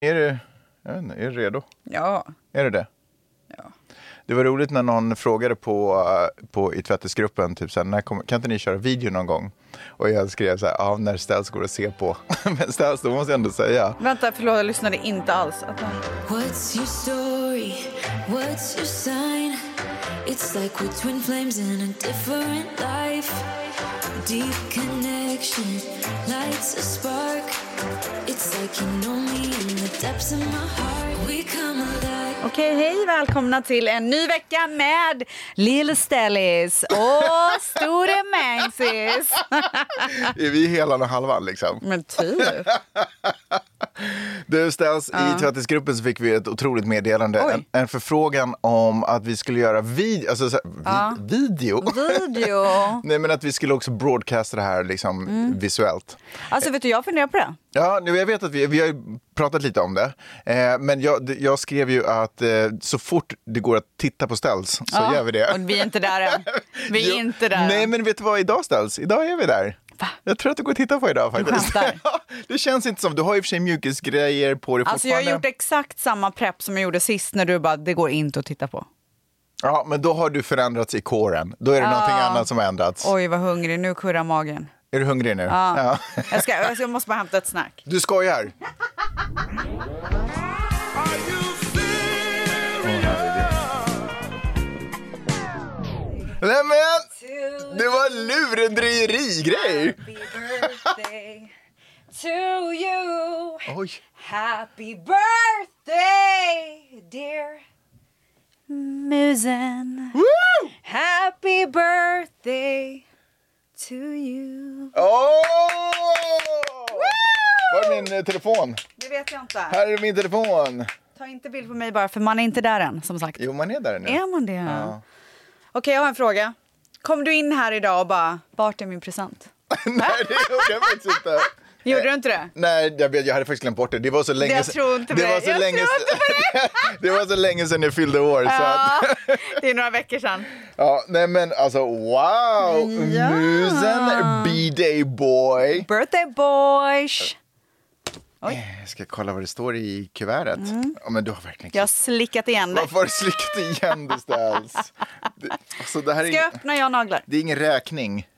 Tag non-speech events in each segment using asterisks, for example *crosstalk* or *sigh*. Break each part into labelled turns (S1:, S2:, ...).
S1: Är du, jag vet inte, är du redo?
S2: Ja.
S1: Är du det?
S2: Ja.
S1: Det var roligt när någon frågade på, eh, på, i tvättisgruppen, typ så här, när kommer- kan inte ni köra video någon gång? Och jag skrev så här, ja, när Ställs går att se på. *laughs* Men Ställs, då måste jag ändå säga.
S2: Vänta, förlåt, jag lyssnade inte alls. Att man...
S3: What's your story? What's your sign? It's like we're twin flames in a different life. Deep connection lights a spark. It's like you know me in the depths of my heart. We come alive.
S2: Okej, hej, välkomna till en ny vecka med Lille Stellis och Store Mangsis.
S1: Är vi hela och halvan liksom?
S2: Men typ.
S1: Du Ställs, i tvättisgruppen så fick vi ett otroligt meddelande.
S2: Oj.
S1: En, en förfrågan om att vi skulle göra video, alltså så här, vi,
S2: Mm.
S1: video.
S2: Video.
S1: Nej men att vi skulle också broadcasta det här liksom
S2: Mm.
S1: visuellt.
S2: Alltså, vet du, jag funderar på det.
S1: Ja, nu, jag vet att vi, vi har ju pratat lite om det. Eh, men jag, d- jag skrev ju att eh, så fort det går att titta på ställs så
S2: Ja,
S1: gör vi det.
S2: Och vi är inte där än. Vi är
S1: Jo,
S2: inte där
S1: Nej,
S2: än.
S1: men vet du vad? Idag ställs. Idag är vi där.
S2: Va?
S1: Jag tror att det går att titta på idag faktiskt.
S2: skämtar?
S1: *laughs* Ja, det känns inte som. Du har ju i och för sig mjukisgrejer på dig
S2: Alltså, jag har
S1: fortfarande.
S2: gjort exakt samma prepp som jag gjorde sist när du bara, det går inte att titta på.
S1: Ja, men då har du förändrats i kåren. Då är det någonting annat som har ändrats.
S2: Ah. Oj, Ah. vad hungrig. Nu kurrar magen.
S1: Är du hungrig nu?
S2: Ja.
S1: Ja.
S2: Jag, ska, alltså, jag måste bara hämta ett snack.
S1: Du skojar? Nej men! Det var lurendrejeri-grej!
S2: To you,
S1: Oj.
S2: happy birthday dear musen.
S1: Woo!
S2: Happy birthday to you.
S1: Åh! Var är min eh, telefon?
S2: Det vet jag inte.
S1: Här är min telefon.
S2: Ta inte bild på mig bara, för man är inte där än, som sagt.
S1: Jo, man är där nu.
S2: Är man det? Okej, jag har en fråga. Kom du in här idag och bara, vart är min present?
S1: *laughs* Nej, det gjorde jag faktiskt inte.
S2: Gjorde du inte det?
S1: Nej, jag, vet, jag hade faktiskt glömt bort det. Det var så länge
S2: Jag
S1: sen-
S2: tror inte på
S1: det.
S2: det.
S1: Var så
S2: Jag
S1: länge
S2: tror
S1: sen- *laughs* det var så länge sedan jag fyllde år. Så att,
S2: Ja, det är några veckor sedan.
S1: ja, nej men alltså wow!
S2: Ja.
S1: Musen B-Day boy.
S2: Birthday boys!
S1: Jag ska kolla vad det står i kuvertet. Ja, men du har verkligen
S2: Mm. Jag har slickat igen det.
S1: Varför har du slickat igen det ställs? Det- Alltså, det här är,
S2: Ska jag öppna jag naglar?
S1: det är ingen räkning.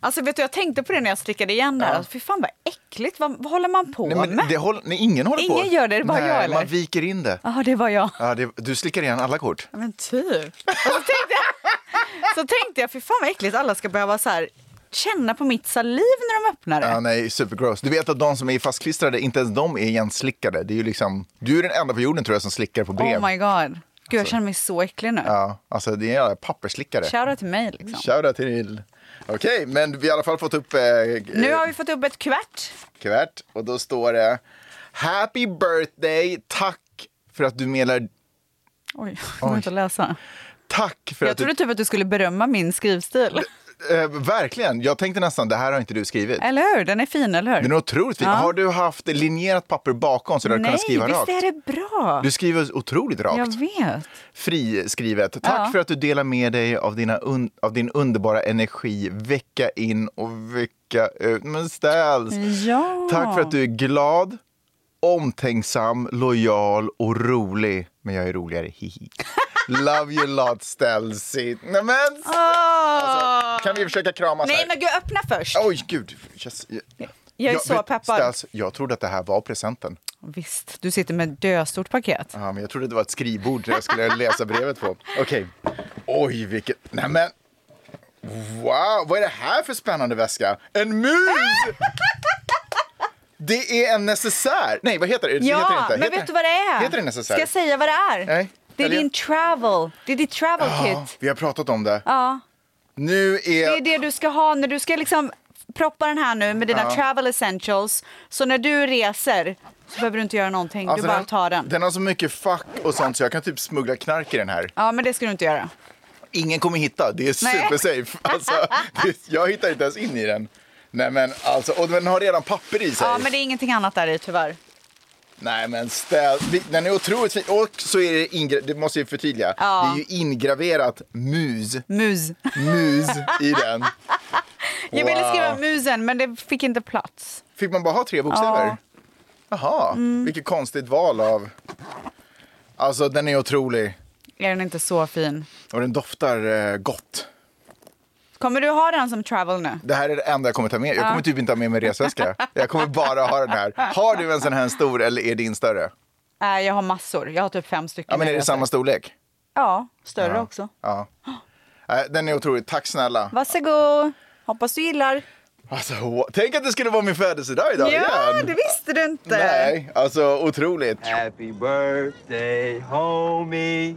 S2: Alltså vet du, jag tänkte på det när jag slickade igen där. Alltså, fy fan vad äckligt. Vad, vad håller man på
S1: Nej, men
S2: med?
S1: det håller, nej, ingen håller på.
S2: Ingen gör det, det är bara
S1: nej,
S2: jag, eller?
S1: Man viker in det.
S2: Ja, det var jag.
S1: Ja, det. Du slickar igen alla kort.
S2: Ja, Men typ. Och så tänkte jag, så tänkte jag fy fan vad äckligt alla ska behöva så här, känna på mitt saliv när de öppnar det.
S1: Ja, nej, supergross. Du vet att de som är fastklistrade, inte ens de är igenslickade. Det är ju liksom, du är den enda på jorden tror jag som slickar på brev. Alltså.
S2: oh my god. Gud, jag känner mig så äcklig nu.
S1: Ja, alltså det är en jävla pappersslickare.
S2: Shoutout till mig liksom.
S1: Shoutout till... Okej, men vi har i alla fall fått upp eh,
S2: Nu
S1: eh,
S2: har vi fått upp ett kuvert.
S1: kuvert och då står det Happy birthday, tack för att du meddelar...
S2: Oj, jag går inte att läsa.
S1: Tack för
S2: Jag
S1: att du...
S2: trodde typ att du skulle berömma
S1: *laughs*
S2: min skrivstil.
S1: Eh, verkligen, jag tänkte nästan det här har inte du skrivit.
S2: Eller hur? Den är fin, eller hur?
S1: Den är otroligt fin.
S2: Eh. Ja.
S1: Har du haft linjerat papper bakom så du har
S2: Nej,
S1: kunnat skriva
S2: visst
S1: rakt?
S2: är det bra?
S1: Du skriver otroligt rakt.
S2: Jag vet.
S1: friskrivet. Tack
S2: Ja.
S1: för att du delar med dig av, dina un- av din underbara energi vecka in och vecka ut. Men ställs.
S2: Ja.
S1: Tack för att du är glad, omtänksam, lojal och rolig. Men jag är roligare,
S2: *laughs*
S1: hihi. Love you lot, Stelzy. Nej men! Kan vi försöka kramas
S2: Ah. Nej
S1: Alltså, här?
S2: men gud, öppna först.
S1: Oj, gud. Yes.
S2: Jag är så
S1: vet-
S2: peppad.
S1: Ställs, jag trodde att det här var presenten.
S2: Visst, du sitter med ett döstort paket.
S1: Ja, men jag trodde det var ett skrivbord där jag skulle läsa brevet på. Okej. Oj, vilket... Nej, men... Wow, vad är det här för spännande väska? En mus! Det är en necessär. Nej, vad heter det? det heter det
S2: Ja,
S1: inte.
S2: men
S1: heter
S2: vet du vad det är?
S1: Heter det necessär?
S2: Ska jag säga vad det är?
S1: Nej.
S2: Det är
S1: Eller-
S2: din travel. Det är ditt travel
S1: Ja,
S2: kit.
S1: Ah, vi har pratat om det.
S2: Ja.
S1: Nu
S2: Det
S1: är... alltså,
S2: är det du ska ha när du ska liksom proppa den här nu med dina travel essentials. Så när du reser så behöver du inte göra någonting.
S1: Alltså,
S2: du bara tar den.
S1: Den har så mycket fack och sånt så jag kan typ smuggla knark i den här.
S2: Ja, men det ska du inte göra.
S1: Ingen kommer hitta, det är
S2: Nej.
S1: supersafe. Alltså, det, jag hittar inte ens in i den. Nej men alltså, och den har redan papper i sig.
S2: Ja, men det är ingenting annat där i tyvärr.
S1: Nej men ställ, vi- den är otroligt fin. Och så är det, ingra, det måste jag förtydliga,
S2: Ja.
S1: det är ju ingraverat mus,
S2: Mus. *laughs*
S1: mus i den.
S2: Jag ville
S1: Wow.
S2: skriva musen, men det fick inte plats.
S1: Fick man bara ha tre bokstäver? Jaha, vilket konstigt val av... Alltså den är otrolig
S2: Är den inte så fin?
S1: och den doftar eh, gott.
S2: Kommer du ha den som travel nu?
S1: Det här är det enda jag kommer ta med. Jag kommer typ inte ha med mig resväska. Jag kommer bara ha den här. Har du en sån här stor eller är din större?
S2: Äh, jag har massor. Jag har typ fem stycken.
S1: Ja, men är det
S2: jag
S1: samma
S2: vet.
S1: storlek?
S2: Ja, större
S1: Ja.
S2: också.
S1: Ja. Nej, Den är otrolig. Tack snälla.
S2: Varsågod. Hoppas du gillar.
S1: Alltså, wha- tänk att det skulle vara min födelsedag idag igen.
S2: visste Äh. du inte.
S1: Nej, alltså otroligt.
S4: Happy birthday, homie.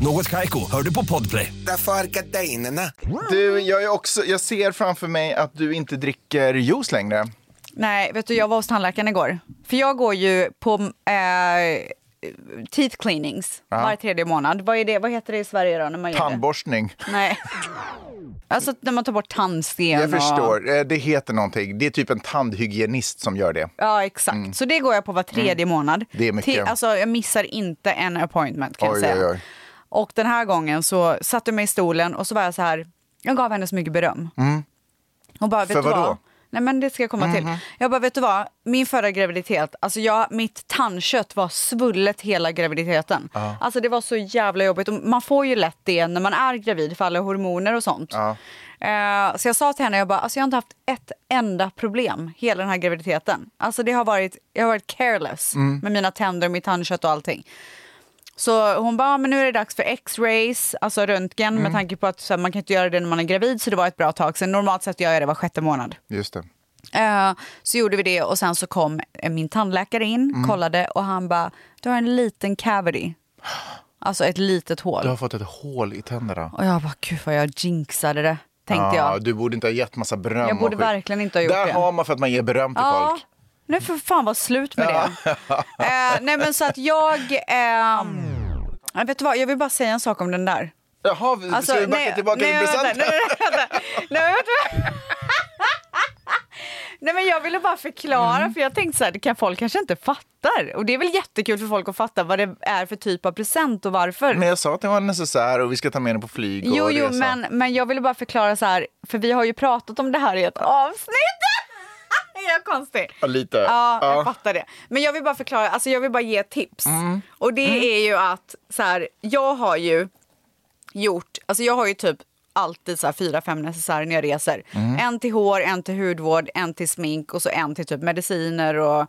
S5: Något Kaiko, hör du på Podplay.
S6: Därför är gardinerna.
S1: Du, jag, är också, jag ser framför mig att du inte dricker juice längre.
S2: Nej, vet du, jag var hos tandläkaren igår. För jag går ju på eh, teeth cleanings
S1: Ja.
S2: var tredje månad. Vad, är det? Vad heter det i Sverige då? När man gör det?
S1: Tandborstning.
S2: Nej. Alltså när man tar bort tandsten.
S1: Jag
S2: och-
S1: förstår. Eh, Det heter någonting. Det är typ en tandhygienist som gör det.
S2: Ja, exakt. Så det går jag på var tredje månad.
S1: Mm. Det är mycket.
S2: alltså, jag missar inte en appointment kan
S1: Oj,
S2: jag säga.
S1: oj, oj.
S2: Och den här gången så satte jag mig i stolen och så var jag så här, jag gav henne så mycket beröm. Och bara, vet
S1: Mm. För Mm-hmm.
S2: du
S1: vad då?
S2: Nej men det ska jag komma till. Jag bara, vet du vad? Min förra graviditet, alltså jag, mitt tandkött var svullet hela graviditeten. Alltså det var så jävla jobbigt. Och man får ju lätt det när man är gravid för alla hormoner och sånt.
S1: Ja.
S2: Eh, så jag sa till henne, jag bara, alltså jag har inte haft ett enda problem hela den här graviditeten. Alltså det har varit, jag har varit careless med mina tänder och mitt tandkött och allting. Så hon bara, "Ja, men nu är det dags för x-rays, alltså röntgen, med tanke på att så här, man kan inte göra det när man är gravid, så det var ett bra tag sedan. Normalt sett gör jag det var sjätte månad.
S1: Just det.
S2: Eh, så gjorde vi det och sen så kom eh, min tandläkare in, kollade och han bara, du har en liten cavity. Alltså ett litet hål.
S1: Du har fått ett hål i tänderna.
S2: Och jag bara, gud vad jag jinxade det,
S1: Ja,
S2: tänkte jag.
S1: Du borde inte ha gett massa beröm.
S2: Jag borde
S1: och skit.
S2: verkligen inte ha gjort
S1: Där
S2: det.
S1: har man för att man ger beröm till folk.
S2: nu får fan vara slut med det. eh, nej men så att jag... ehm, ja, vet du vad, jag vill bara säga en sak om den där.
S1: Jaha, ska vi backa tillbaka till
S2: vänta,
S1: presenten?
S2: Alltså, Nej, nej, vänta. nej, men vänta. *laughs* nej men jag ville bara förklara
S1: Mm.
S2: för jag tänkte så här, det kan folk kanske inte fattar. Och det är väl jättekul för folk att fatta vad det är för typ av present och varför.
S1: Men jag sa att det var en necessär och vi ska ta med den på flyg och
S2: jo, jo,
S1: resa.
S2: men, men jag ville bara förklara så här, för vi har ju pratat om det här i ett avsnitt. *laughs* är jag konstig?
S1: Ja, Mm. Lite.
S2: Ja, jag fattar det. Men jag vill bara förklara, alltså jag vill bara ge tips. Och det är ju att så här, jag har ju gjort, alltså jag har ju typ alltid så här fyra, fem necessärer när jag reser.
S1: Mhm.
S2: En till hår, en till hudvård, en till smink och så en till typ mediciner och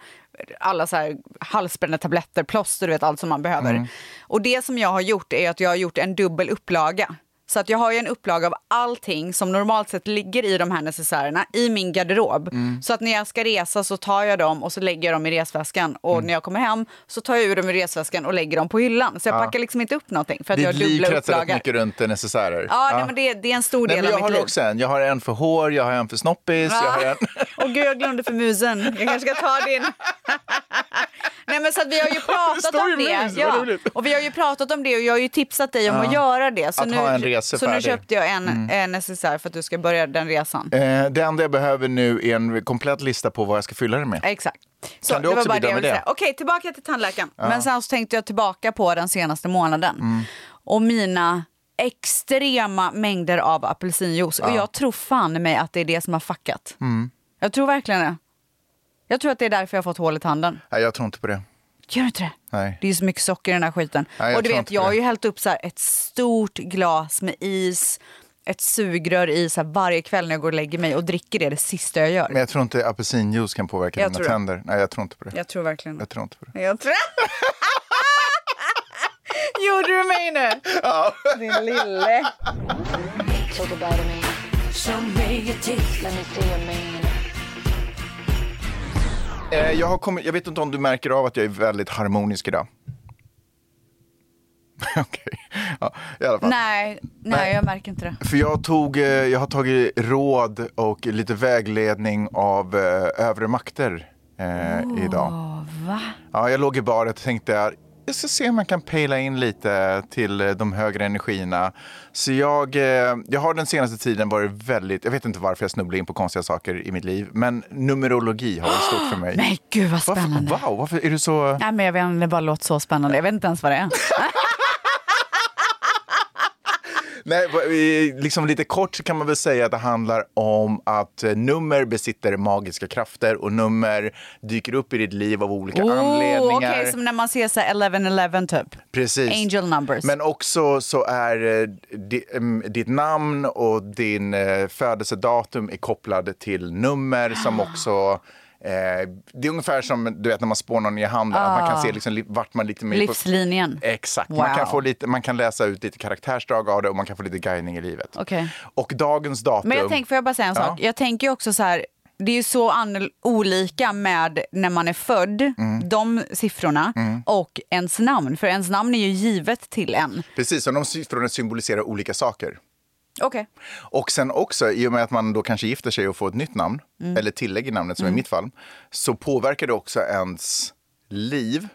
S2: alla så här halsbrända tabletter, plåster, du vet allt som man behöver.
S1: Mm.
S2: Och det som jag har gjort är att jag har gjort en dubbel upplaga. Så att jag har ju en upplaga av allting som normalt sett ligger i de här necessärerna i min garderob.
S1: Mm.
S2: Så att när jag ska resa så tar jag dem och så lägger jag dem i resväskan. Och
S1: Mm.
S2: när jag kommer hem så tar jag ur dem ur resväskan och lägger dem på hyllan. Så jag packar liksom inte upp någonting för att jag har
S1: Ditt liv
S2: dubbla
S1: kretsar rätt
S2: upplagor.
S1: mycket runt necessärer.
S2: Ja, Nej, men det, det är en stor
S1: Nej,
S2: del
S1: men jag
S2: av mitt
S1: har
S2: liv.
S1: också en. Jag har en för hår, jag har en för snoppis, jag har en...
S2: *laughs* Åh gud, jag glömde för musen. Jag kanske ska ta din. *laughs* Nej men så att vi har ju pratat
S1: står ju
S2: om det.
S1: mus, vad roligt.
S2: Och vi har ju pratat om det och jag har ju tipsat dig om att göra det. Så
S1: Att
S2: nu,
S1: ha en resa
S2: så nu
S1: färdig. Mm.
S2: köpte jag en, en necessär för att du ska börja den resan.
S1: Eh, det enda jag behöver nu är en komplett lista på vad jag ska fylla den med.
S2: Exakt. Så
S1: Kan du också bidra med
S2: ville
S1: det?
S2: säga. Okej, tillbaka till tandläkaren. Men sen så tänkte jag tillbaka på den senaste månaden
S1: Mm.
S2: och mina extrema mängder av apelsinjuice. Och jag tror fan i mig att det är det som har fuckat.
S1: Mm.
S2: Jag tror verkligen det. Jag tror att det är därför jag har fått hål i tanden.
S1: Nej, jag tror inte på det.
S2: Gör du inte det?
S1: Nej.
S2: Det är ju så mycket socker i den här skiten.
S1: Nej, jag
S2: och du
S1: tror
S2: vet,
S1: inte
S2: jag har
S1: det.
S2: ju hällt upp så här ett stort glas med is, ett sugrör i så här varje kväll när jag går och lägger mig och dricker det, det sista jag gör.
S1: Men jag tror inte apelsinjuice kan påverka
S2: Jag
S1: dina
S2: tror det.
S1: tänder. Nej, jag tror inte på det.
S2: Jag tror verkligen
S1: Jag tror inte på det.
S2: Jag tror... *laughs* Gjorde du mig nu? Ja. Din lille.
S7: Talk about a man.
S3: Show me your teeth.
S7: Let me see a man.
S1: Eh, jag, har kommit, jag vet inte om du märker av att jag är väldigt harmonisk idag. *laughs* Okej. Ja, I alla fall.
S2: Nej, nej, jag märker inte det.
S1: För jag, tog, eh, jag har tagit råd och lite vägledning av eh, övre makter eh, idag.
S2: Va?
S1: Ja, jag låg i baret och tänkte jag ska se om jag kan pejla in lite till eh, de högre energierna. Så jag, eh, jag har den senaste tiden varit väldigt, jag vet inte varför jag snubblar in på konstiga saker i mitt liv, men numerologi har varit stort för mig.
S2: *gasps* Men gud vad spännande.
S1: Varför, wow, varför är du så...
S2: Nej, men jag vet inte, det bara låter så spännande. Jag vet inte ens vad det är.
S1: Nej, va- eh, liksom lite kort så kan man väl säga att det handlar om att eh, nummer besitter magiska krafter och nummer dyker upp i ditt liv av olika anledningar.
S2: Okej, som när man ser så här 11-11 typ.
S1: Precis.
S2: Angel numbers.
S1: Men också så är eh, di, em, ditt namn och din eh, födelsedatum är kopplade till nummer
S2: Ah.
S1: som också Eh, det är ungefär som du vet, när man spår någon i handen, att man kan se liksom, li- vart man lite mer...
S2: Ah. Livslinjen.
S1: Exakt.
S2: Wow.
S1: Man, kan få lite, man kan läsa ut lite karaktärsdrag av det och man kan få lite guidning i livet.
S2: Okej.
S1: Och dagens datum...
S2: Men jag tänker, får jag bara säga en
S1: Ja.
S2: sak? Jag tänker ju också så här, det är ju så annor- olika med när man är född, de siffrorna, och ens namn. För ens namn är ju givet till en.
S1: Precis, och de siffrorna symboliserar olika saker.
S2: Okej.
S1: Och sen också, i och med att man då kanske gifter sig och får ett nytt namn,
S2: Mm.
S1: eller tillägg i namnet som i mitt fall, så påverkar det också ens liv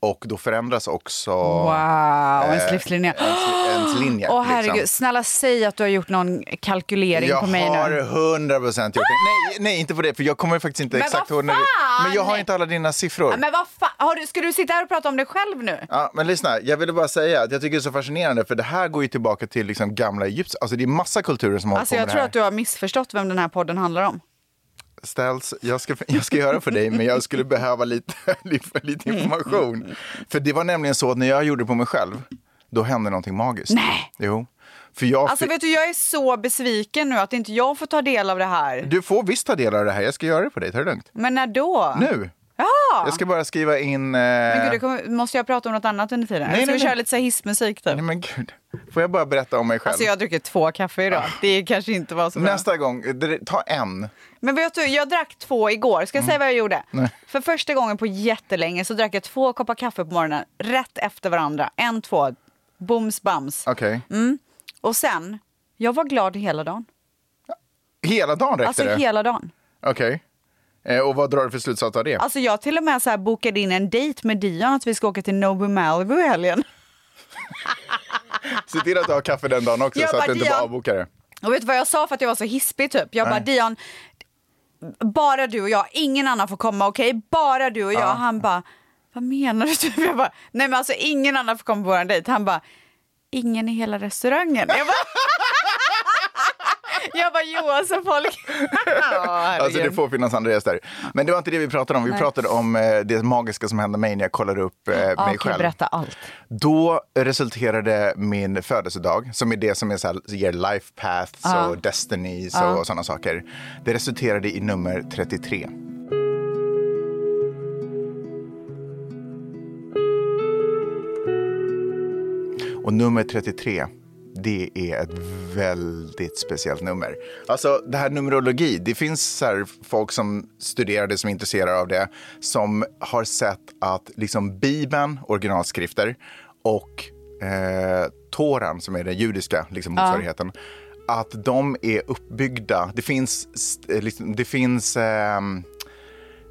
S1: och då förändras också
S2: Wow, ens
S1: eh,
S2: livslinje.
S1: ens, ens linje. liksom.
S2: Åh herregud, snälla säg att du har gjort någon kalkylering
S1: Jag
S2: på mig nu.
S1: har 100 procent gjort det. Nej, nej, inte på det, för jag kommer faktiskt inte
S2: Men
S1: exakt
S2: vad
S1: ihåg. när du- Men jag har
S2: fan!
S1: inte alla dina siffror.
S2: Ja, Men vad fan, har du, ska du sitta här och prata om dig själv nu?
S1: Ja, men lyssna, jag ville bara säga att jag tycker det är så fascinerande för det här går ju tillbaka till liksom gamla Egypten. Alltså det är massa kulturer som har hållit
S2: Alltså
S1: på med
S2: jag
S1: det
S2: tror
S1: här.
S2: att du har missförstått vem den här podden handlar om.
S1: Ställs, jag ska, *laughs* jag ska göra för dig, men jag skulle behöva lite, *laughs* lite- lite
S2: Mm,
S1: information. För det var nämligen så att när jag gjorde det på mig själv, då hände någonting magiskt.
S2: Nej.
S1: Jo. För jag
S2: Alltså
S1: fi-
S2: vet du, jag är så besviken nu att inte jag får ta del av det här.
S1: Du får visst ta del av det här, jag ska göra det för dig, ta det lugnt.
S2: Men när då?
S1: Nu!
S2: Ja!
S1: Jag ska bara skriva in... eh,
S2: Men gud, det kommer, måste jag prata om något annat under tiden?
S1: Nej,
S2: Nej, ska
S1: nej,
S2: vi köra
S1: nej.
S2: lite så här hissmusik typ?
S1: Nej men gud, får jag bara berätta om mig själv?
S2: Alltså jag har druckit två kaffe idag. Det kanske inte var så bra.
S1: Nästa gång, det- ta en.
S2: Men vet du, jag drack två igår. Ska jag säga vad jag gjorde? För första gången på jättelänge så drack jag två koppar kaffe på morgonen rätt efter varandra. En, två, booms bams.
S1: Okej.
S2: Och sen, jag var glad hela dagen.
S1: Hela dagen räckte
S2: Alltså
S1: det?
S2: hela dagen.
S1: Okej. Eh, Och vad drar du för slutsats av det?
S2: Alltså jag till och med så här bokade in en dejt med Dion att vi ska åka till Nobu Malibu i helgen.
S1: Se till att du har kaffe den dagen också
S2: Jag
S1: så att
S2: bara,
S1: du inte bara
S2: Dion.
S1: avbokar det.
S2: Och vet du vad jag sa för att jag var så hispig typ? Jag bara Dion, bara du och jag, ingen annan får komma okej? Bara du och jag. Han bara, vad menar du? *laughs* Typ? Jag bara, nej men alltså ingen annan får komma på våran dejt. Han bara, ingen i hela restaurangen. Jag bara, *laughs* jag bara Johan så folk... *laughs* Ja,
S1: Alltså det
S2: herregud.
S1: får finnas andra gäster. Men det var inte det vi pratade om. Vi pratade om eh, det magiska som hände mig när jag kollade upp eh, mig
S2: Ja, okej,
S1: själv.
S2: berätta allt.
S1: Då resulterade min födelsedag, som är det som är så här, ger life paths och destinies och sådana saker. Det resulterade i nummer 33. Och nummer 33, det är ett väldigt speciellt nummer. Alltså det här numerologi, det finns så här folk som studerar det, som är intresserade av det, som har sett att liksom Bibeln, originalskrifter, och eh, Toran, som är den judiska liksom, motsvarigheten, att de är uppbyggda. Det finns, st- eh, liksom, det finns ehm,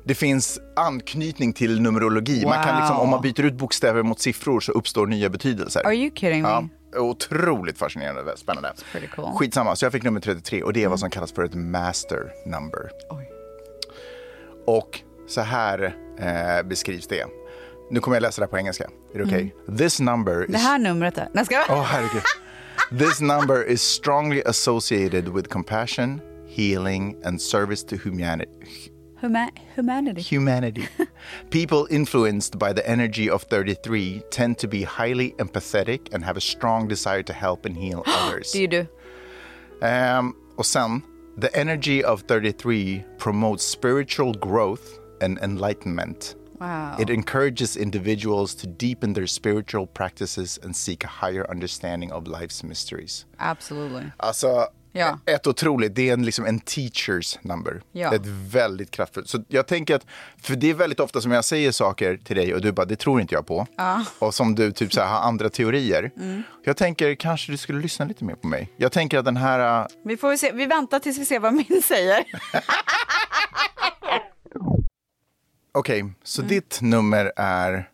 S1: det finns anknytning till numerologi. Man kan liksom,
S2: Wow.
S1: om man byter ut bokstäver mot siffror så uppstår nya betydelser.
S2: Are you kidding me?
S1: Ja, otroligt fascinerande och spännande.
S2: pretty cool. Mm.
S1: Skitsamma, så jag fick nummer 33 och det är vad som kallas för ett master number. Och så här eh, beskrivs det. Nu kommer jag läsa det här på engelska. Är det okej? This number
S2: Mm. Det
S1: is...
S2: här numret är... Nej, ska jag...
S1: Åh, herregud. This number is strongly associated with compassion, healing and service to humanity.
S2: Huma- Humanity.
S1: Humanity. People influenced by the energy of 33 tend to be highly empathetic and have a strong desire to help and
S2: *gasps*
S1: heal others.
S2: Det är ju du.
S1: Ehm, och sen, the energy of 33 promotes spiritual growth and enlightenment.
S2: Wow.
S1: It encourages individuals to deepen their spiritual practices and seek a higher understanding of life's mysteries.
S2: Absolutely.
S1: Alltså,
S2: Ja.
S1: ett otroligt. Det är en, liksom en teachers number.
S2: Ja.
S1: Ett väldigt kraftfullt. Så jag tänker att, för det är väldigt ofta som jag säger saker till dig och du bara, det tror inte jag på. Och som du typ så här, har andra teorier.
S2: Mm.
S1: Jag tänker kanske du skulle lyssna lite mer på mig. Jag tänker att den här, äh,
S2: Vi, får väl se. vi väntar tills vi ser vad min säger. Mm.
S1: okej, så ditt nummer är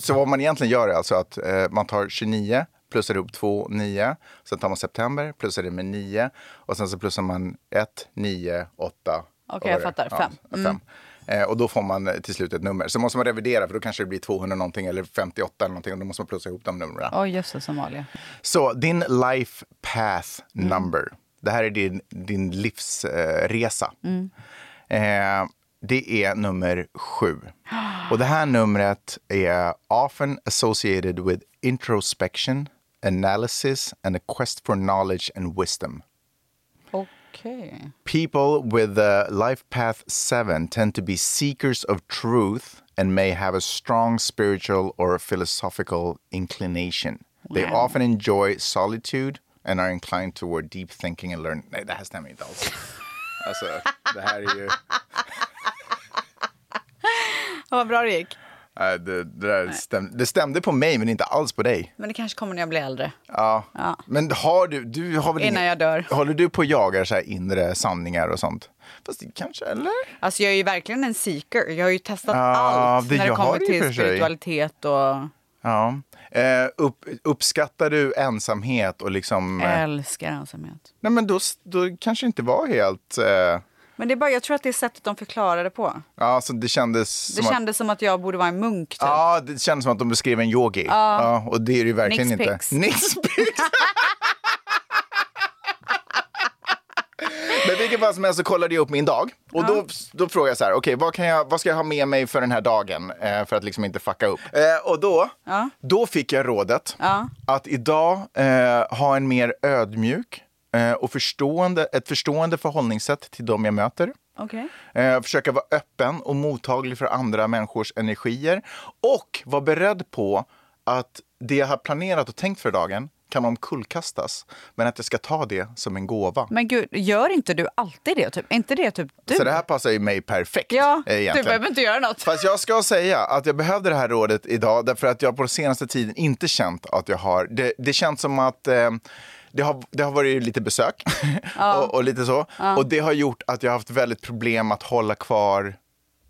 S1: Så vad man egentligen gör är alltså att eh, man tar 29, plussar ihop 2, 9. Sen tar man september, plussar det med 9. Och sen så plussar man 1, 9, 8.
S2: Okej, jag fattar. Fem. Mm.
S1: fem. Eh, och då får man eh, till slut ett nummer. Så måste man revidera för då kanske det blir 200 någonting eller 58 eller någonting. Och då måste man plussa ihop de numren.
S2: Oj, jösses Amalia.
S1: Så din life path number. Det här är din, din livsresa. Eh, det är nummer sju. Och det här numret är often associated with introspection, analysis and a quest for knowledge and wisdom.
S2: Okej.
S1: People with the life path 7 tend to be seekers of truth and may have a strong spiritual or philosophical inclination. They often enjoy solitude and are inclined toward deep thinking and learn. Nej, det här stämmer inte
S2: *laughs*
S1: alls. Alltså, det här är ju...
S2: Vad bra det gick.
S1: Nej, äh, det, det, där stäm, det stämde på mig, men inte alls på dig.
S2: Men det kanske kommer när jag blir äldre.
S1: Ja. Men har du... du har väl
S2: Innan
S1: ingen-
S2: jag dör.
S1: Håller du på och jagar så här inre sanningar och sånt? Fast det kanske, eller?
S2: Alltså jag är ju verkligen en seeker. Jag har ju testat
S1: Ja,
S2: allt
S1: det
S2: när det
S1: jag
S2: kommer
S1: har ju för
S2: till
S1: sig.
S2: spiritualitet och
S1: Ja. Eh, upp, uppskattar du ensamhet och liksom... Eh,
S2: älskar ensamhet.
S1: nej, men då, s- då kanske inte var helt... Eh,
S2: Men det är bara, jag tror att det är sättet de förklarar det på.
S1: ja, så det kändes
S2: Det
S1: som att...
S2: kändes som att jag borde vara en munk typ.
S1: Ja, det kändes som att de beskrev en yogi. Ja, och det är det ju verkligen
S2: Nix
S1: inte.
S2: pix.
S1: Nix pix. Men vilken fall som helst så kollade jag upp min dag. Och då, då frågade jag så här, okej vad kan jag, vad ska jag ha med mig för den här dagen? Eh, för att liksom inte fucka upp. Eh, och då, då fick jag rådet att idag eh, ha en mer ödmjuk eh, och förstående, ett förstående förhållningssätt till de jag möter.
S2: Okej.
S1: Eh, försöka vara öppen och mottaglig för andra människors energier och vara beredd på att det jag har planerat och tänkt för dagen kan omkullkastas, men att jag ska ta det som en gåva.
S2: Men gud, gör inte du alltid det? Typ? Är inte det typ
S1: Så
S2: du?
S1: Alltså, det här passar ju mig perfekt.
S2: ja,
S1: eh,
S2: du
S1: egentligen.
S2: behöver inte göra något.
S1: Fast jag ska säga att jag behövde det här rådet idag därför att jag på den senaste tiden inte känt att jag har... Det, det känns som att eh, det, har, det har varit lite besök *laughs* och, och lite så. Och det har gjort att jag har haft väldigt problem att hålla kvar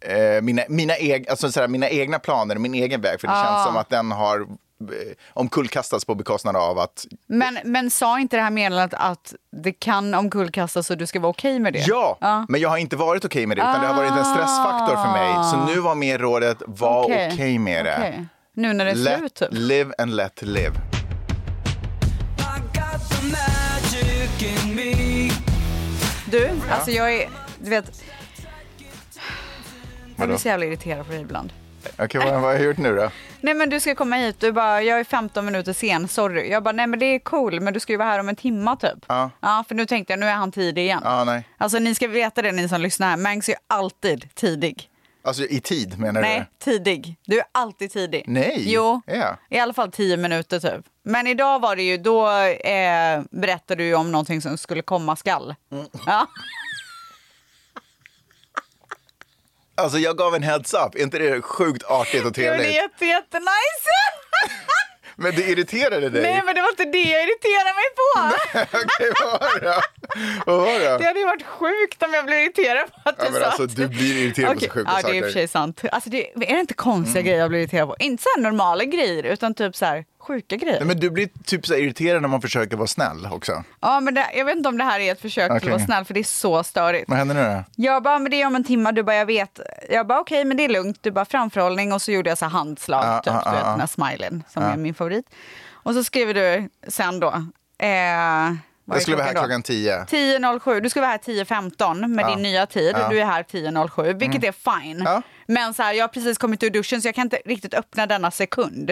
S1: eh, mina, mina, eg, alltså sådär, mina egna planer och min egen väg. För det känns som att den har eh, omkullkastats på bekostnad av att
S2: Men, men sa inte det här meddelandet att det kan omkullkastas och du ska vara okej med det? Ah,
S1: Ja, Ah. men jag har inte varit okej med det utan det har varit en stressfaktor för mig. Så nu var mer rådet, var okej
S2: Okej.
S1: med det.
S2: Okej. Nu när det är slut
S1: Let
S2: typ.
S1: live and let live.
S2: Du, alltså jag är... Du vet... Jag blir så jävla irriterad på dig ibland.
S1: Okej, vad, vad har jag gjort nu då?
S2: Nej men du ska komma hit, du bara jag är 15 minuter sen, sorry. Jag bara nej men det är cool men du ska ju vara här om en timma typ.
S1: Ja.
S2: ja för nu tänkte jag nu är han tidig igen.
S1: Ja, nej.
S2: Alltså ni ska veta det ni som lyssnar här, Mangs är ju alltid tidig.
S1: Alltså i tid menar
S2: Nej,
S1: du?
S2: tidig. Du är alltid tidig.
S1: Nej,
S2: Jo,
S1: är jag?
S2: i alla fall 10 minuter typ. Men idag var det ju, då eh, berättade du ju om någonting som skulle komma skall.
S1: Mm. *laughs*
S2: Ja.
S1: Alltså jag gav en heads up, är inte det sjukt
S2: *laughs*
S1: artigt och
S2: Jo,
S1: trevligt?
S2: Det är jätte, jättenice!
S1: Men det irriterade dig?
S2: Nej men det var inte det jag irriterade mig på.
S1: Okej, *laughs* vad var det Vad var
S2: Det
S1: det?
S2: hade ju varit sjukt om jag blev irriterad på att du
S1: Ja, men
S2: sa
S1: alltså,
S2: att...
S1: du blir irriterad på så
S2: Okej,
S1: sjuka
S2: Ja, det
S1: saker. Mm.
S2: är i och för sig sant. Alltså, det, är det inte konstiga grejer jag blir irriterad på? Inte så här normala grejer, utan typ så här sjuka grejer.
S1: Nej, men du blir typ så här irriterad när man försöker vara snäll också.
S2: Ja, men det, jag vet inte om det här är ett försök till att
S1: Okej.
S2: vara snäll, för det är så störigt.
S1: Vad händer nu då?
S2: Jag bara, men det är om en timme. Du bara, jag vet. Jag bara, okej, men det är lugnt. Du bara, framförhållning. Och så gjorde jag så här handslag,
S1: Ja,
S2: typ.
S1: ja,
S2: du
S1: ja,
S2: vet,
S1: ja.
S2: den här smilen som
S1: Ah.
S2: är min favorit. Och så skriver du sen då. Eh, vad är
S1: Jag skulle vara här
S2: då?
S1: klockan tio.
S2: 10.07, du ska vara här 10.15 med din nya tid. Du är här 10.07, vilket är fine.
S1: Mm. Ja.
S2: Men så här, jag har precis kommit ur duschen så jag kan inte riktigt öppna denna sekund.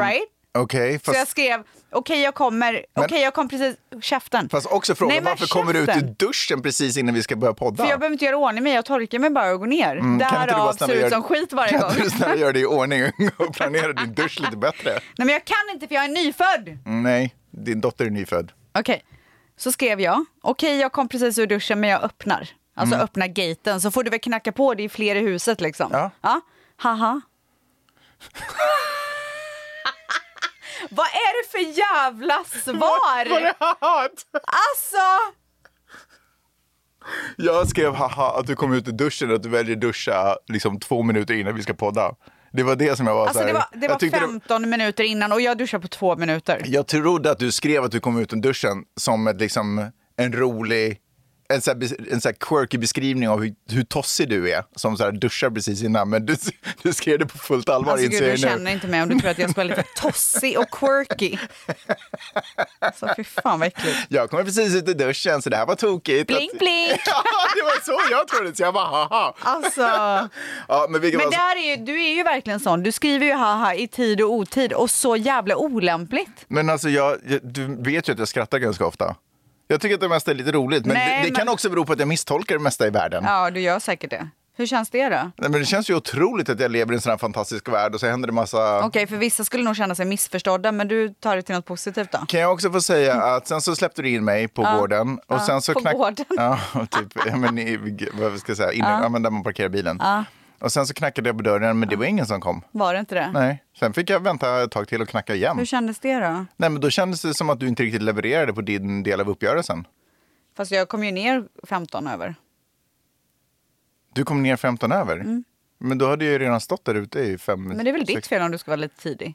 S2: Right?
S1: Okej,
S2: Så jag
S1: Mm. fast,
S2: skrev, okej jag kommer, okej jag kom precis, käften.
S1: fast också
S2: Nej,
S1: frågan
S2: men
S1: varför kommer du ut
S2: käften.
S1: ur duschen precis innan vi ska börja podda?
S2: För jag behöver inte göra ordning mig, jag torkar mig bara och går ner.
S1: Mm, Kan inte du vara
S2: Därav
S1: snäll
S2: ser
S1: och
S2: ut
S1: göra-
S2: som skit varje
S1: kan
S2: gång.
S1: Kan du snälla göra det i ordning
S2: *laughs*
S1: och planera din dusch lite bättre? Mm,
S2: Nej men jag kan inte för jag är nyfödd.
S1: Nej, din dotter är nyfödd.
S2: Okej, så skrev jag. Okej, jag kom precis ur duschen men jag öppnar. Alltså
S1: Mm.
S2: öppnar gaten så får du väl knacka på, det är fler i huset liksom.
S1: Ja. *laughs*
S2: Haha. Vad är det för jävla svar? Alltså!
S1: Jag skrev haha att du kom ut ur duschen och att du väljer duscha liksom två minuter innan vi ska podda. Det var det som jag var
S2: Alltså
S1: så
S2: det
S1: här.
S2: var, det var
S1: jag, tyckte det-
S2: 15 minuter innan och jag duschade på två minuter.
S1: jag trodde att du skrev att du kom ut ur duschen som ett, liksom, en rolig, en så, här, bes- en så här quirky beskrivning av hur, hur tossig du är som så här duschar precis innan. Men du, *laughs* du skrev det på fullt allvar
S2: Alltså gud,
S1: inser
S2: du
S1: jag nu.
S2: känner inte mig om du tror att jag ska
S1: *laughs*
S2: vara lite tossig och quirky. Alltså fy fan vad äckligt.
S1: Jag kommer precis ut ur duschen så det här var tokigt.
S2: Bling
S1: *laughs* Att-
S2: bling!
S1: ja, det var så jag trodde. Så jag bara haha.
S2: Alltså.
S1: Ja, men vilket
S2: Men
S1: var så-
S2: där är ju, du är ju verkligen sån. Du skriver ju haha i tid och otid och så jävla olämpligt.
S1: Men alltså, jag, jag, du vet ju att jag skrattar ganska ofta. Jag tycker att det mesta är lite roligt, men
S2: Nej,
S1: det, det
S2: men-
S1: kan också bero på att jag misstolkar det mesta i världen.
S2: Ja, du gör säkert det. Hur känns det då?
S1: Nej, men det känns ju otroligt att jag lever i en sån här fantastisk värld och så händer det massa...
S2: Okej, för vissa skulle nog känna sig missförstådda, men du tar det till något positivt då?
S1: Kan jag också få säga att sen så släppte du in mig på gården. Och sen så
S2: på gården.
S1: Ja, och typ, ja, men, i, vad ska jag säga, inne, ja. men där man parkerar bilen. Och sen så knackade jag på dörren, men det var ingen som kom.
S2: Var det inte det?
S1: Nej. Sen fick jag vänta ett tag till och knacka igen.
S2: Hur kändes det då?
S1: Nej, men då kändes det som att du inte riktigt levererade på din del av uppgörelsen.
S2: Fast jag kom ju ner 15 över.
S1: Du kom ner 15 över. Men då hade jag ju redan stått där ute i fem
S2: Mm. Men det är väl ditt
S1: sex-
S2: fel om du ska vara lite tidig.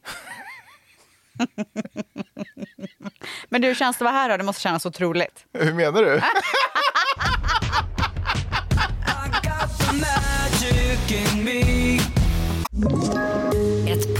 S2: *laughs* men du, hur känns det att vara här då? Det måste kännas otroligt.
S1: *laughs* Hur menar
S2: Ah.
S1: du?
S8: Ett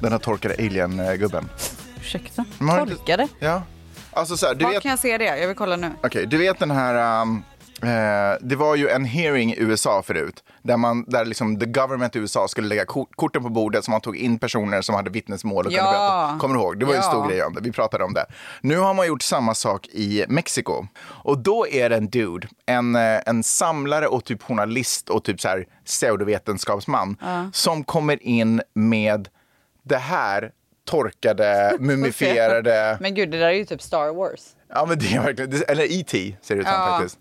S1: Den här torkade alien-gubben?
S2: Ursäkta?
S1: Men har du inte-
S2: Torkade?
S1: Ja. Alltså så här, du
S2: Var
S1: vet...
S2: kan jag se det? Jag vill kolla nu.
S1: Okej, du vet den här... um, eh, det var ju en hearing i USA förut där, man, där liksom the government i USA skulle lägga kort, korten på bordet så man tog in personer som hade vittnesmål och
S2: Ja.
S1: kunde berätta. Kommer du ihåg? Det var ju en
S2: Ja.
S1: stor grej om det. Vi pratade om det. Nu har man gjort samma sak i Mexiko. Och då är det en dude, en, eh, en samlare och typ journalist och typ så här pseudovetenskapsman som kommer in med det här
S2: *laughs*
S1: torkade, mumifierade...
S2: Men gud, det där är ju typ Star Wars.
S1: Ja, men det är verkligen... det- Eller E E.T. ser det ut som faktiskt.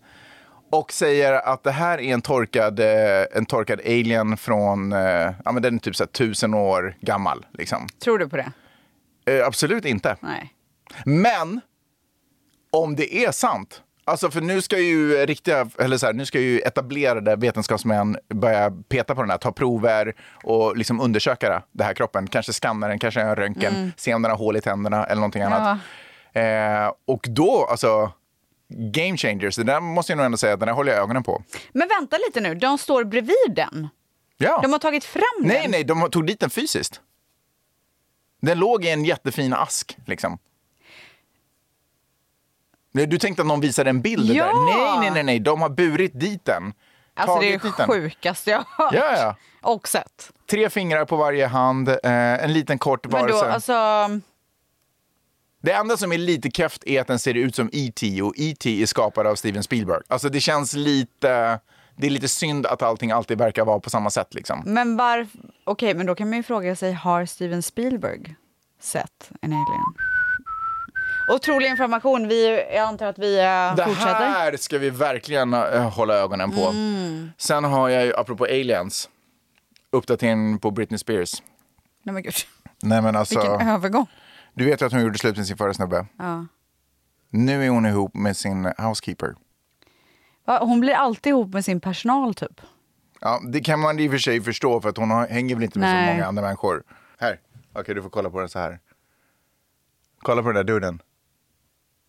S1: Och säger att det här är en torkad, eh, en torkad alien från... eh, Ja, men den är typ så här, tusen år gammal. Liksom.
S2: Tror du på det?
S1: Eh, absolut inte.
S2: Nej.
S1: Men om det är sant. Alltså för nu ska ju riktiga, eller så här, nu ska ju etablerade vetenskapsmän börja peta på den här, ta prover och liksom undersöka den här kroppen. Kanske skanna den, kanske göra en röntgen,
S2: Mm.
S1: se om den har hål i tänderna eller någonting annat. Eh, och då, alltså, game changers, det där måste jag nog ändå säga, den där håller jag ögonen på.
S2: Men vänta lite nu, de står bredvid den.
S1: Ja.
S2: De har tagit fram
S1: Nej,
S2: den.
S1: nej, de tog dit den fysiskt. Den låg i en jättefin ask, liksom. Nej, Du tänkte att någon visade en bild
S2: Ja!
S1: där? Nej, nej, nej, nej, de har burit dit den.
S2: Alltså det är
S1: Tagit dit
S2: det
S1: den.
S2: sjukaste jag har hört.
S1: Ja, ja.
S2: Och sett.
S1: Tre fingrar på varje hand, eh, en liten kort
S2: Men då,
S1: varelse.
S2: alltså,
S1: Det enda som är lite kräft är att den ser ut som E.T. och E.T. är skapad av Steven Spielberg. Alltså det känns lite... Det är lite synd att allting alltid verkar vara på samma sätt liksom.
S2: men varför... Okej, men då kan man ju fråga sig, har Steven Spielberg sett en alien? Otrolig information. Vi, jag antar att vi eh,
S1: Det
S2: fortsätter.
S1: här ska vi verkligen eh, hålla ögonen på.
S2: Mm.
S1: Sen har jag ju, apropå aliens, uppdateringen på Britney Spears.
S2: Nej, men gud.
S1: Nej men
S2: Vilken
S1: alltså,
S2: övergång.
S1: du vet ju att hon gjorde slut med sin förra snubbe.
S2: Ja.
S1: Nu är hon ihop med sin housekeeper.
S2: Va, Hon blir alltid ihop med sin personal, typ.
S1: Ja, det kan man i och för sig förstå för att hon har- hänger väl inte med
S2: Nej.
S1: så många andra människor. Här, okej du får kolla på den så här. Kolla på den där duden.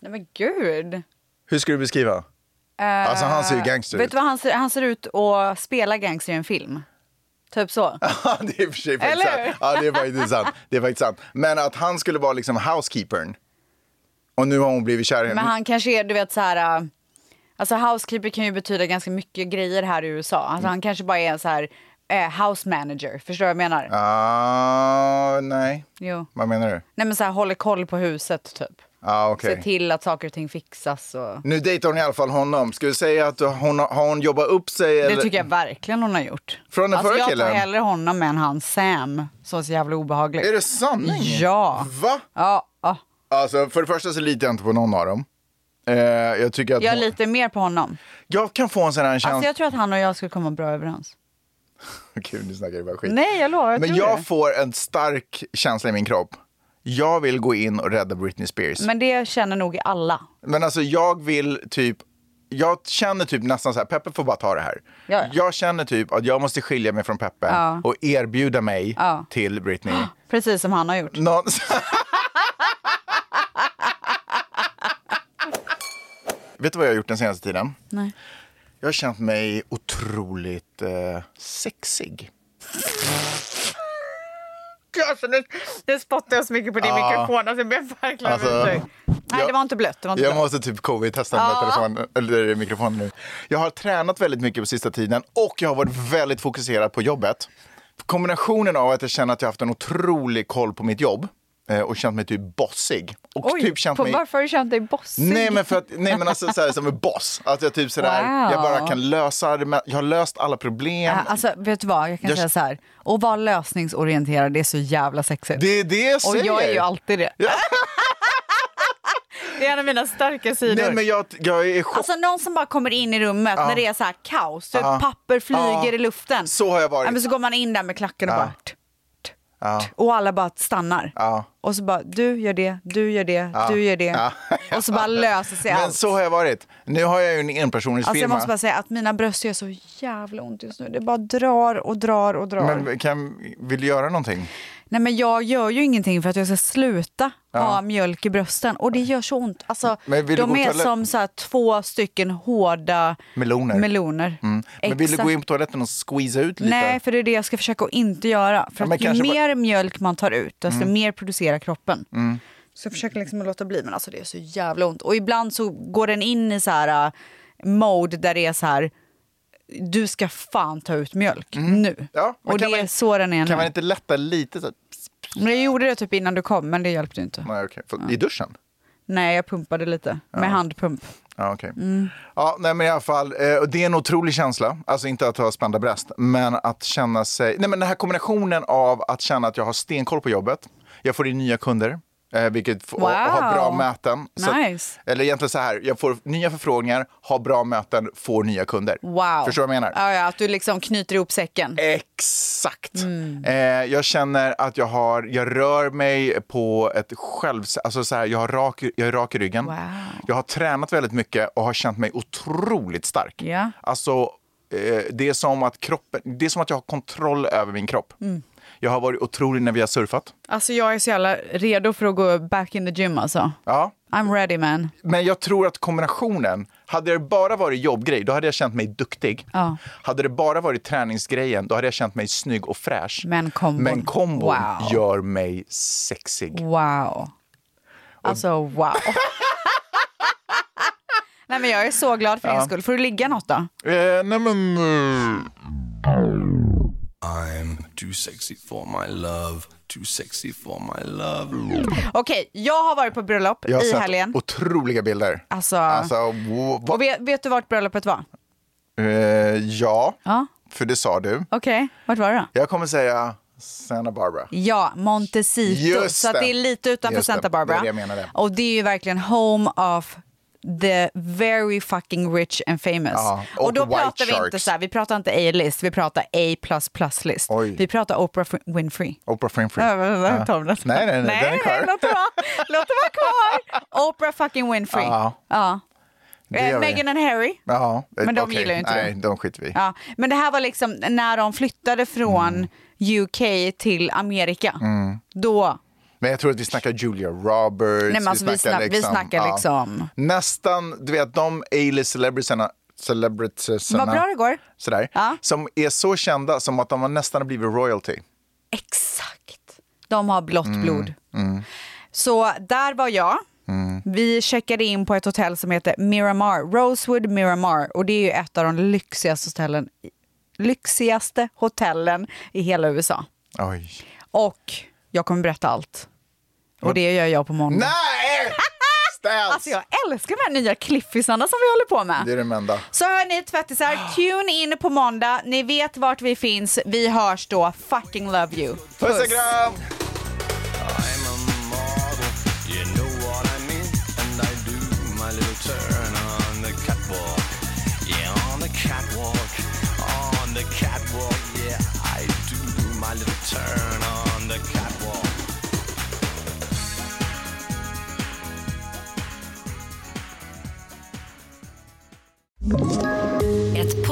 S2: Nej, men gud.
S1: Hur ska du beskriva? alltså han ser ju gangster
S2: Eh, Vet
S1: ut.
S2: du vad han ser, han ser ut att spela gangster i en film. Typ så.
S1: Ja, det är i och för sig faktiskt
S2: Eller hur?
S1: sant. Ja, det är faktiskt sant. Det är faktiskt sant. Men att han skulle vara liksom housekeepern. Och nu har hon blivit kär i
S2: Men han kanske är, du vet så här... äh, Alltså housekeeper kan ju betyda ganska mycket grejer här i USA. Alltså
S1: Mm.
S2: han kanske bara är en så här eh, house manager. Förstår du vad jag menar?
S1: Ah, nej.
S2: Jo.
S1: Vad menar du?
S2: Nej men så här håller koll på huset typ.
S1: Ah, okej.
S2: Se till att saker och ting fixas. Och...
S1: Nu dejtar hon i alla fall honom. Ska vi säga att hon, har hon jobbat upp sig?
S2: Det
S1: eller?
S2: tycker jag verkligen hon har gjort.
S1: Från den
S2: alltså,
S1: förra
S2: jag
S1: killen?
S2: tar hellre honom än han Sam som är så jävla obehaglig.
S1: Är det sant?
S2: Ja.
S1: Va?
S2: Ja. ja.
S1: Alltså, för det första så litar jag inte på någon av dem. Eh, jag tycker att
S2: Jag
S1: hon...
S2: litar mer på honom.
S1: jag kan få en sån här känsla...
S2: Alltså, jag tror att han och jag skulle komma bra överens.
S1: *laughs* Gud, nu snackar vi bara skit.
S2: Nej, jag lovar. Jag
S1: Men
S2: tror
S1: jag
S2: det.
S1: får en stark känsla i min kropp. Jag vill gå in och rädda Britney Spears. Men,
S2: Men det känner nog alla.
S1: alltså jag vill typ, jag känner typ nästan så här, Peppe får bara ta det här.
S2: Ja, ja.
S1: Jag känner typ att jag måste skilja mig från Peppe
S2: Ja.
S1: och erbjuda mig
S2: Ja.
S1: till Britney.
S2: Precis som han har gjort.
S1: Någon... *laughs* Vet du vad jag har gjort den senaste tiden?
S2: Nej.
S1: Jag har känt mig otroligt eh, sexig. Alltså, nu,
S2: nu spottar jag så mycket på din
S1: Ja.
S2: mikrofon. Alltså, jag ber verkligen om
S1: Alltså,
S2: ursäkt. Nej,
S1: jag-
S2: det var inte blött. Det var inte
S1: Jag
S2: blött.
S1: måste typ covid-testa den
S2: Ja.
S1: här telefonen, eller mikrofonen nu. Jag har tränat väldigt mycket på sista tiden och jag har varit väldigt fokuserad på jobbet. Kombinationen av att jag känner att jag haft en otrolig koll på mitt jobb eh, och känt mig typ bossig. Och
S2: Oj,
S1: typ känt
S2: på,
S1: mig...
S2: varför har du känt dig bossig?
S1: Nej men, för att, nej men alltså såhär, som en boss. Att jag typ sådär,
S2: Wow.
S1: jag bara kan lösa det, men jag har löst alla problem.
S2: Ja, Alltså, vet du vad? Jag kan
S1: Jag-
S2: säga så här. Att vara lösningsorienterad, det är så jävla sexigt.
S1: Det är det jag
S2: Och
S1: säger.
S2: jag är ju alltid det. det är en av mina starka sidor.
S1: Nej men jag, jag är chockad.
S2: Alltså någon som bara kommer in i rummet
S1: Ja.
S2: när det är så här kaos, typ
S1: Ja.
S2: papper flyger
S1: Ja.
S2: i luften.
S1: Så har jag varit.
S2: Ja, men så går man in där med klacken och
S1: Ja.
S2: bara... t-
S1: Ja.
S2: Och alla bara stannar.
S1: Ja.
S2: Och så bara, du gör det, du gör det,
S1: Ja.
S2: du gör
S1: *laughs*
S2: det.
S1: Ja.
S2: Och så bara löser sig
S1: Men
S2: allt.
S1: så har jag varit. Nu har jag ju en enpersonsfirma.
S2: Alltså jag måste bara säga att mina bröst gör så jävla ont just nu. Det bara drar och drar och drar.
S1: Men kan, vill du göra någonting?
S2: Nej men jag gör ju ingenting för att jag ska sluta
S1: Ja.
S2: ha mjölk i brösten. Och det gör så ont. Alltså,
S1: Men vill du gå
S2: de
S1: på
S2: är
S1: toalett-
S2: som så här två stycken hårda
S1: Meloner.
S2: meloner.
S1: Mm. Men vill du
S2: Exakt.
S1: gå in på toaletten och squeeza ut lite?
S2: Nej, för det är det jag ska försöka att inte göra.
S1: Ja,
S2: För
S1: men
S2: att ju
S1: kanske
S2: mer mjölk man tar ut, desto
S1: Mm.
S2: mer producerar kroppen.
S1: Mm.
S2: Så jag försöker liksom att låta bli, men alltså det är så jävla ont. Och ibland så går den in i så här äh, mode där det är så här, du ska fan ta ut mjölk nu.
S1: Mm. Ja, men
S2: Och det
S1: kan
S2: är
S1: man-
S2: så den är
S1: Kan man
S2: nu.
S1: inte lätta lite? Så...
S2: Men jag gjorde det typ innan du kom, men det hjälpte ju inte.
S1: Nej, okay. För, I duschen?
S2: Nej, jag pumpade lite med handpump.
S1: Ja, okej.
S2: Mm.
S1: Ja, nej, men i alla fall, eh, och det är en otrolig känsla. Alltså inte att ha spända bröst, men att känna sig... Nej, men den här kombinationen av att känna att jag har stenkoll på jobbet, jag får in nya kunder, eh, vilket f- och, och har bra
S2: Wow.
S1: möten.
S2: Nice.
S1: att, eller egentligen så här, jag får nya förfrågningar, har bra möten, får nya kunder.
S2: Wow.
S1: Förstår du vad jag menar? Eh.
S2: Ja, ja, att du liksom knyter ihop säcken.
S1: Exakt. Eh, jag känner att jag, har, jag rör mig på ett själv... Alltså så här, jag, har rak, jag är rak i ryggen. Jag har tränat väldigt mycket och har känt mig otroligt stark.
S2: Ja.
S1: Alltså, eh, det, är som att kroppen, det är som att jag har kontroll över min kropp. Jag har varit otrolig när vi har surfat.
S2: Alltså jag är så jävla redo för att gå back in the gym alltså.
S1: Ja.
S2: I'm ready man.
S1: Men jag tror att kombinationen... Hade det bara varit jobbgrej, då hade jag känt mig duktig.
S2: Ja.
S1: Hade det bara varit träningsgrejen, då hade jag känt mig snygg och fräsch.
S2: Men kombon.
S1: Men kombon
S2: Wow.
S1: gör mig sexig.
S2: Wow. Alltså
S1: *laughs*
S2: wow. Nej men jag är så glad för
S1: Ja.
S2: din skull. Får du ligga något då?
S1: Eh, nej men... eh,
S9: I'm too sexy for my love, too sexy for my love.
S2: Okej, jag har varit på bröllop
S1: Jag har
S2: i
S1: sett
S2: helgen.
S1: otroliga bilder.
S2: Alltså,
S1: Alltså, wo- va-
S2: och vet, vet du vart bröllopet var?
S1: eh, ja,
S2: Ja.
S1: för det sa du.
S2: Okej, vart var det då?
S1: Jag kommer säga Santa Barbara.
S2: Ja, Montecito.
S1: Just
S2: så att
S1: det.
S2: det är lite utanför
S1: Just det.
S2: Santa Barbara.
S1: Det är det jag menade.
S2: Och det är ju verkligen home of the very fucking rich and famous.
S1: Ja,
S2: och,
S1: och
S2: då
S1: White
S2: pratar vi inte
S1: Sharks.
S2: så här, vi pratar inte A-list, vi pratar A++-list.
S1: Oj.
S2: Vi pratar Oprah Fri- Winfrey.
S1: Oprah Winfrey.
S2: Ja, men-
S1: Ja.
S2: ta om den.
S1: Nej, nej, nej, den är kvar.
S2: låt det vara. Låt det vara kvar. Oprah fucking Winfrey.
S1: Ja.
S2: Ja.
S1: Det gör
S2: Eh,
S1: vi.
S2: Meghan and Harry.
S1: Ja, eh,
S2: Men de
S1: okej.
S2: gillar ju inte
S1: Nej,
S2: det.
S1: de skiter vi i.
S2: Ja, men det här var liksom när de flyttade från UK till Amerika.
S1: Mm.
S2: Då
S1: Men jag tror att vi snackar Julia Roberts.
S2: Nej, men alltså, vi snack- vi snackar liksom-
S1: Nästan, du vet de A-list celebritiesarna. celebritiesarna
S2: Vad bra det går.
S1: Sådär. Som är så kända som att de har nästan har blivit royalty.
S2: de har blått blod.
S1: Mm.
S2: Så där var jag.
S1: Mm.
S2: Vi checkade in på ett hotell som heter Miramar, Rosewood Miramar. Och det är ju ett av de lyxigaste, ställen, lyxigaste hotellen i hela USA.
S1: Oj.
S2: *laughs* Och jag kommer berätta allt. Och det gör jag på måndag.
S1: Nej! Dance!
S2: Alltså jag älskar de här nya cliffisarna som vi håller på med.
S1: Det är de enda.
S2: Så hör ni tvättisar, tune in på måndag. Ni vet vart vi finns. Vi hörs då. Fucking love you.
S1: Puss och kram!
S9: You know what I mean? And I do my little turn on the catwalk. Yeah, on the catwalk. On the catwalk. Yeah, I do my little turn on the catwalk.
S10: Ett